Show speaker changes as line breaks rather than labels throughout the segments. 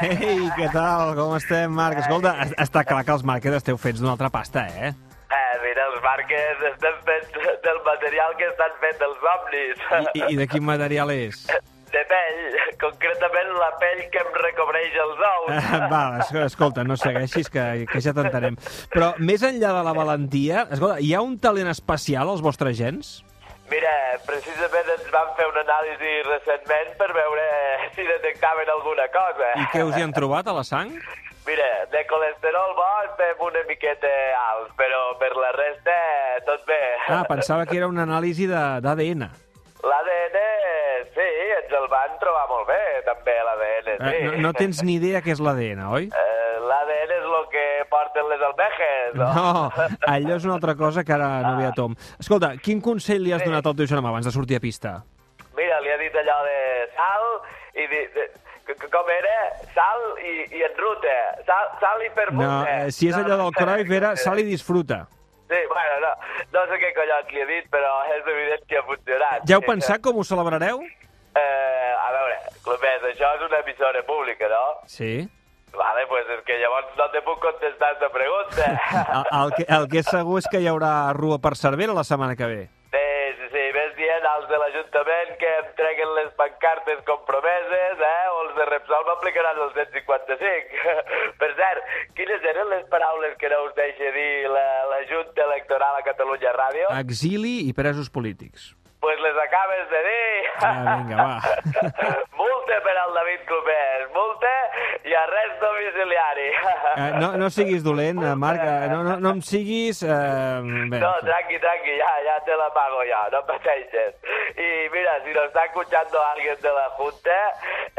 què tal? Com estem, Marc? Escolta, es- està clar que els màrquers esteu fets d'una altra pasta, eh?
Eh, mira, els barques estan fets del material que estan fets els ovnis.
I, i de quin material és?
De pell, concretament la pell que em recobreix els ous.
Eh, Va, es- escolta, no segueixis, que, que ja t'entenem. Però més enllà de la valentia, escolta, hi ha un talent especial als vostres gens?
Mira, precisament ens van fer una anàlisi recentment per veure si detectaven alguna cosa.
I què us hi han trobat, a la sang?
Mira, de colesterol bo estem una miqueta alts, però per la resta eh, tot bé.
Ah, pensava que era una anàlisi d'ADN.
L'ADN, sí, ens el van trobar molt bé, també, l'ADN, sí.
Eh, no, no tens ni idea què és l'ADN, oi?
Eh, L'ADN és el que porten les almejes, no?
No, allò és una altra cosa que ara no ve a tom. Escolta, quin consell li has donat al teu germà abans de sortir a pista?
Mira, li ha dit allò de sal i... De, de, c- c- com era? Sal i, i enruta. Sal, sal i permuta.
No, eh, si és allò del Cruyff, era sal i disfruta.
Sí, bueno, no, no sé què collons li he dit, però és evident que ha funcionat.
Ja heu pensat com ho celebrareu?
Eh, a veure, Clomés, això és una emissora pública, no?
Sí.
Vale, pues és que llavors no te puc contestar aquesta pregunta.
El, el, que, el que és segur és que hi haurà rua per Cervera la setmana que ve.
sí, sí, sí, ves dient als de l'Ajuntament que em treguen les pancartes compromeses, eh, o els de Repsol m'aplicaran el 155. per cert, quines eren les paraules que no us deixa dir la, la Junta Electoral a Catalunya Ràdio? Doncs
Exili i presos polítics.
pues les acabes de dir.
Ah, vinga, va.
multa per al David Clomés, multa i arrest domiciliari.
Eh, no, no siguis dolent, eh, Marc. eh, No, no, no em siguis... Eh, bé,
No, tranqui, tranqui, ya, ya te la pago ya, no pateixes. Y mira, si nos está escuchando alguien de la Junta,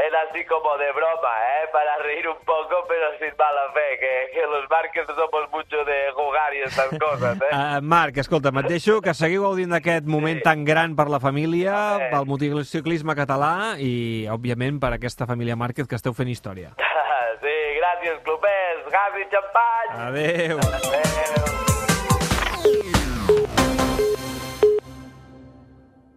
es así como de broma, ¿eh? Para reír un poco, pero sin mala fe, que, que los marques somos mucho de jugar y estas cosas, ¿eh?
Uh, Marc, escolta, et deixo que seguiu gaudint d'aquest moment tan gran per la família,
Home.
pel motociclisme català i, òbviament, per aquesta família Márquez que esteu fent història. Ah.
sí, gracias, clubes, gas y champán. Eh,
Adéu!
Adeu.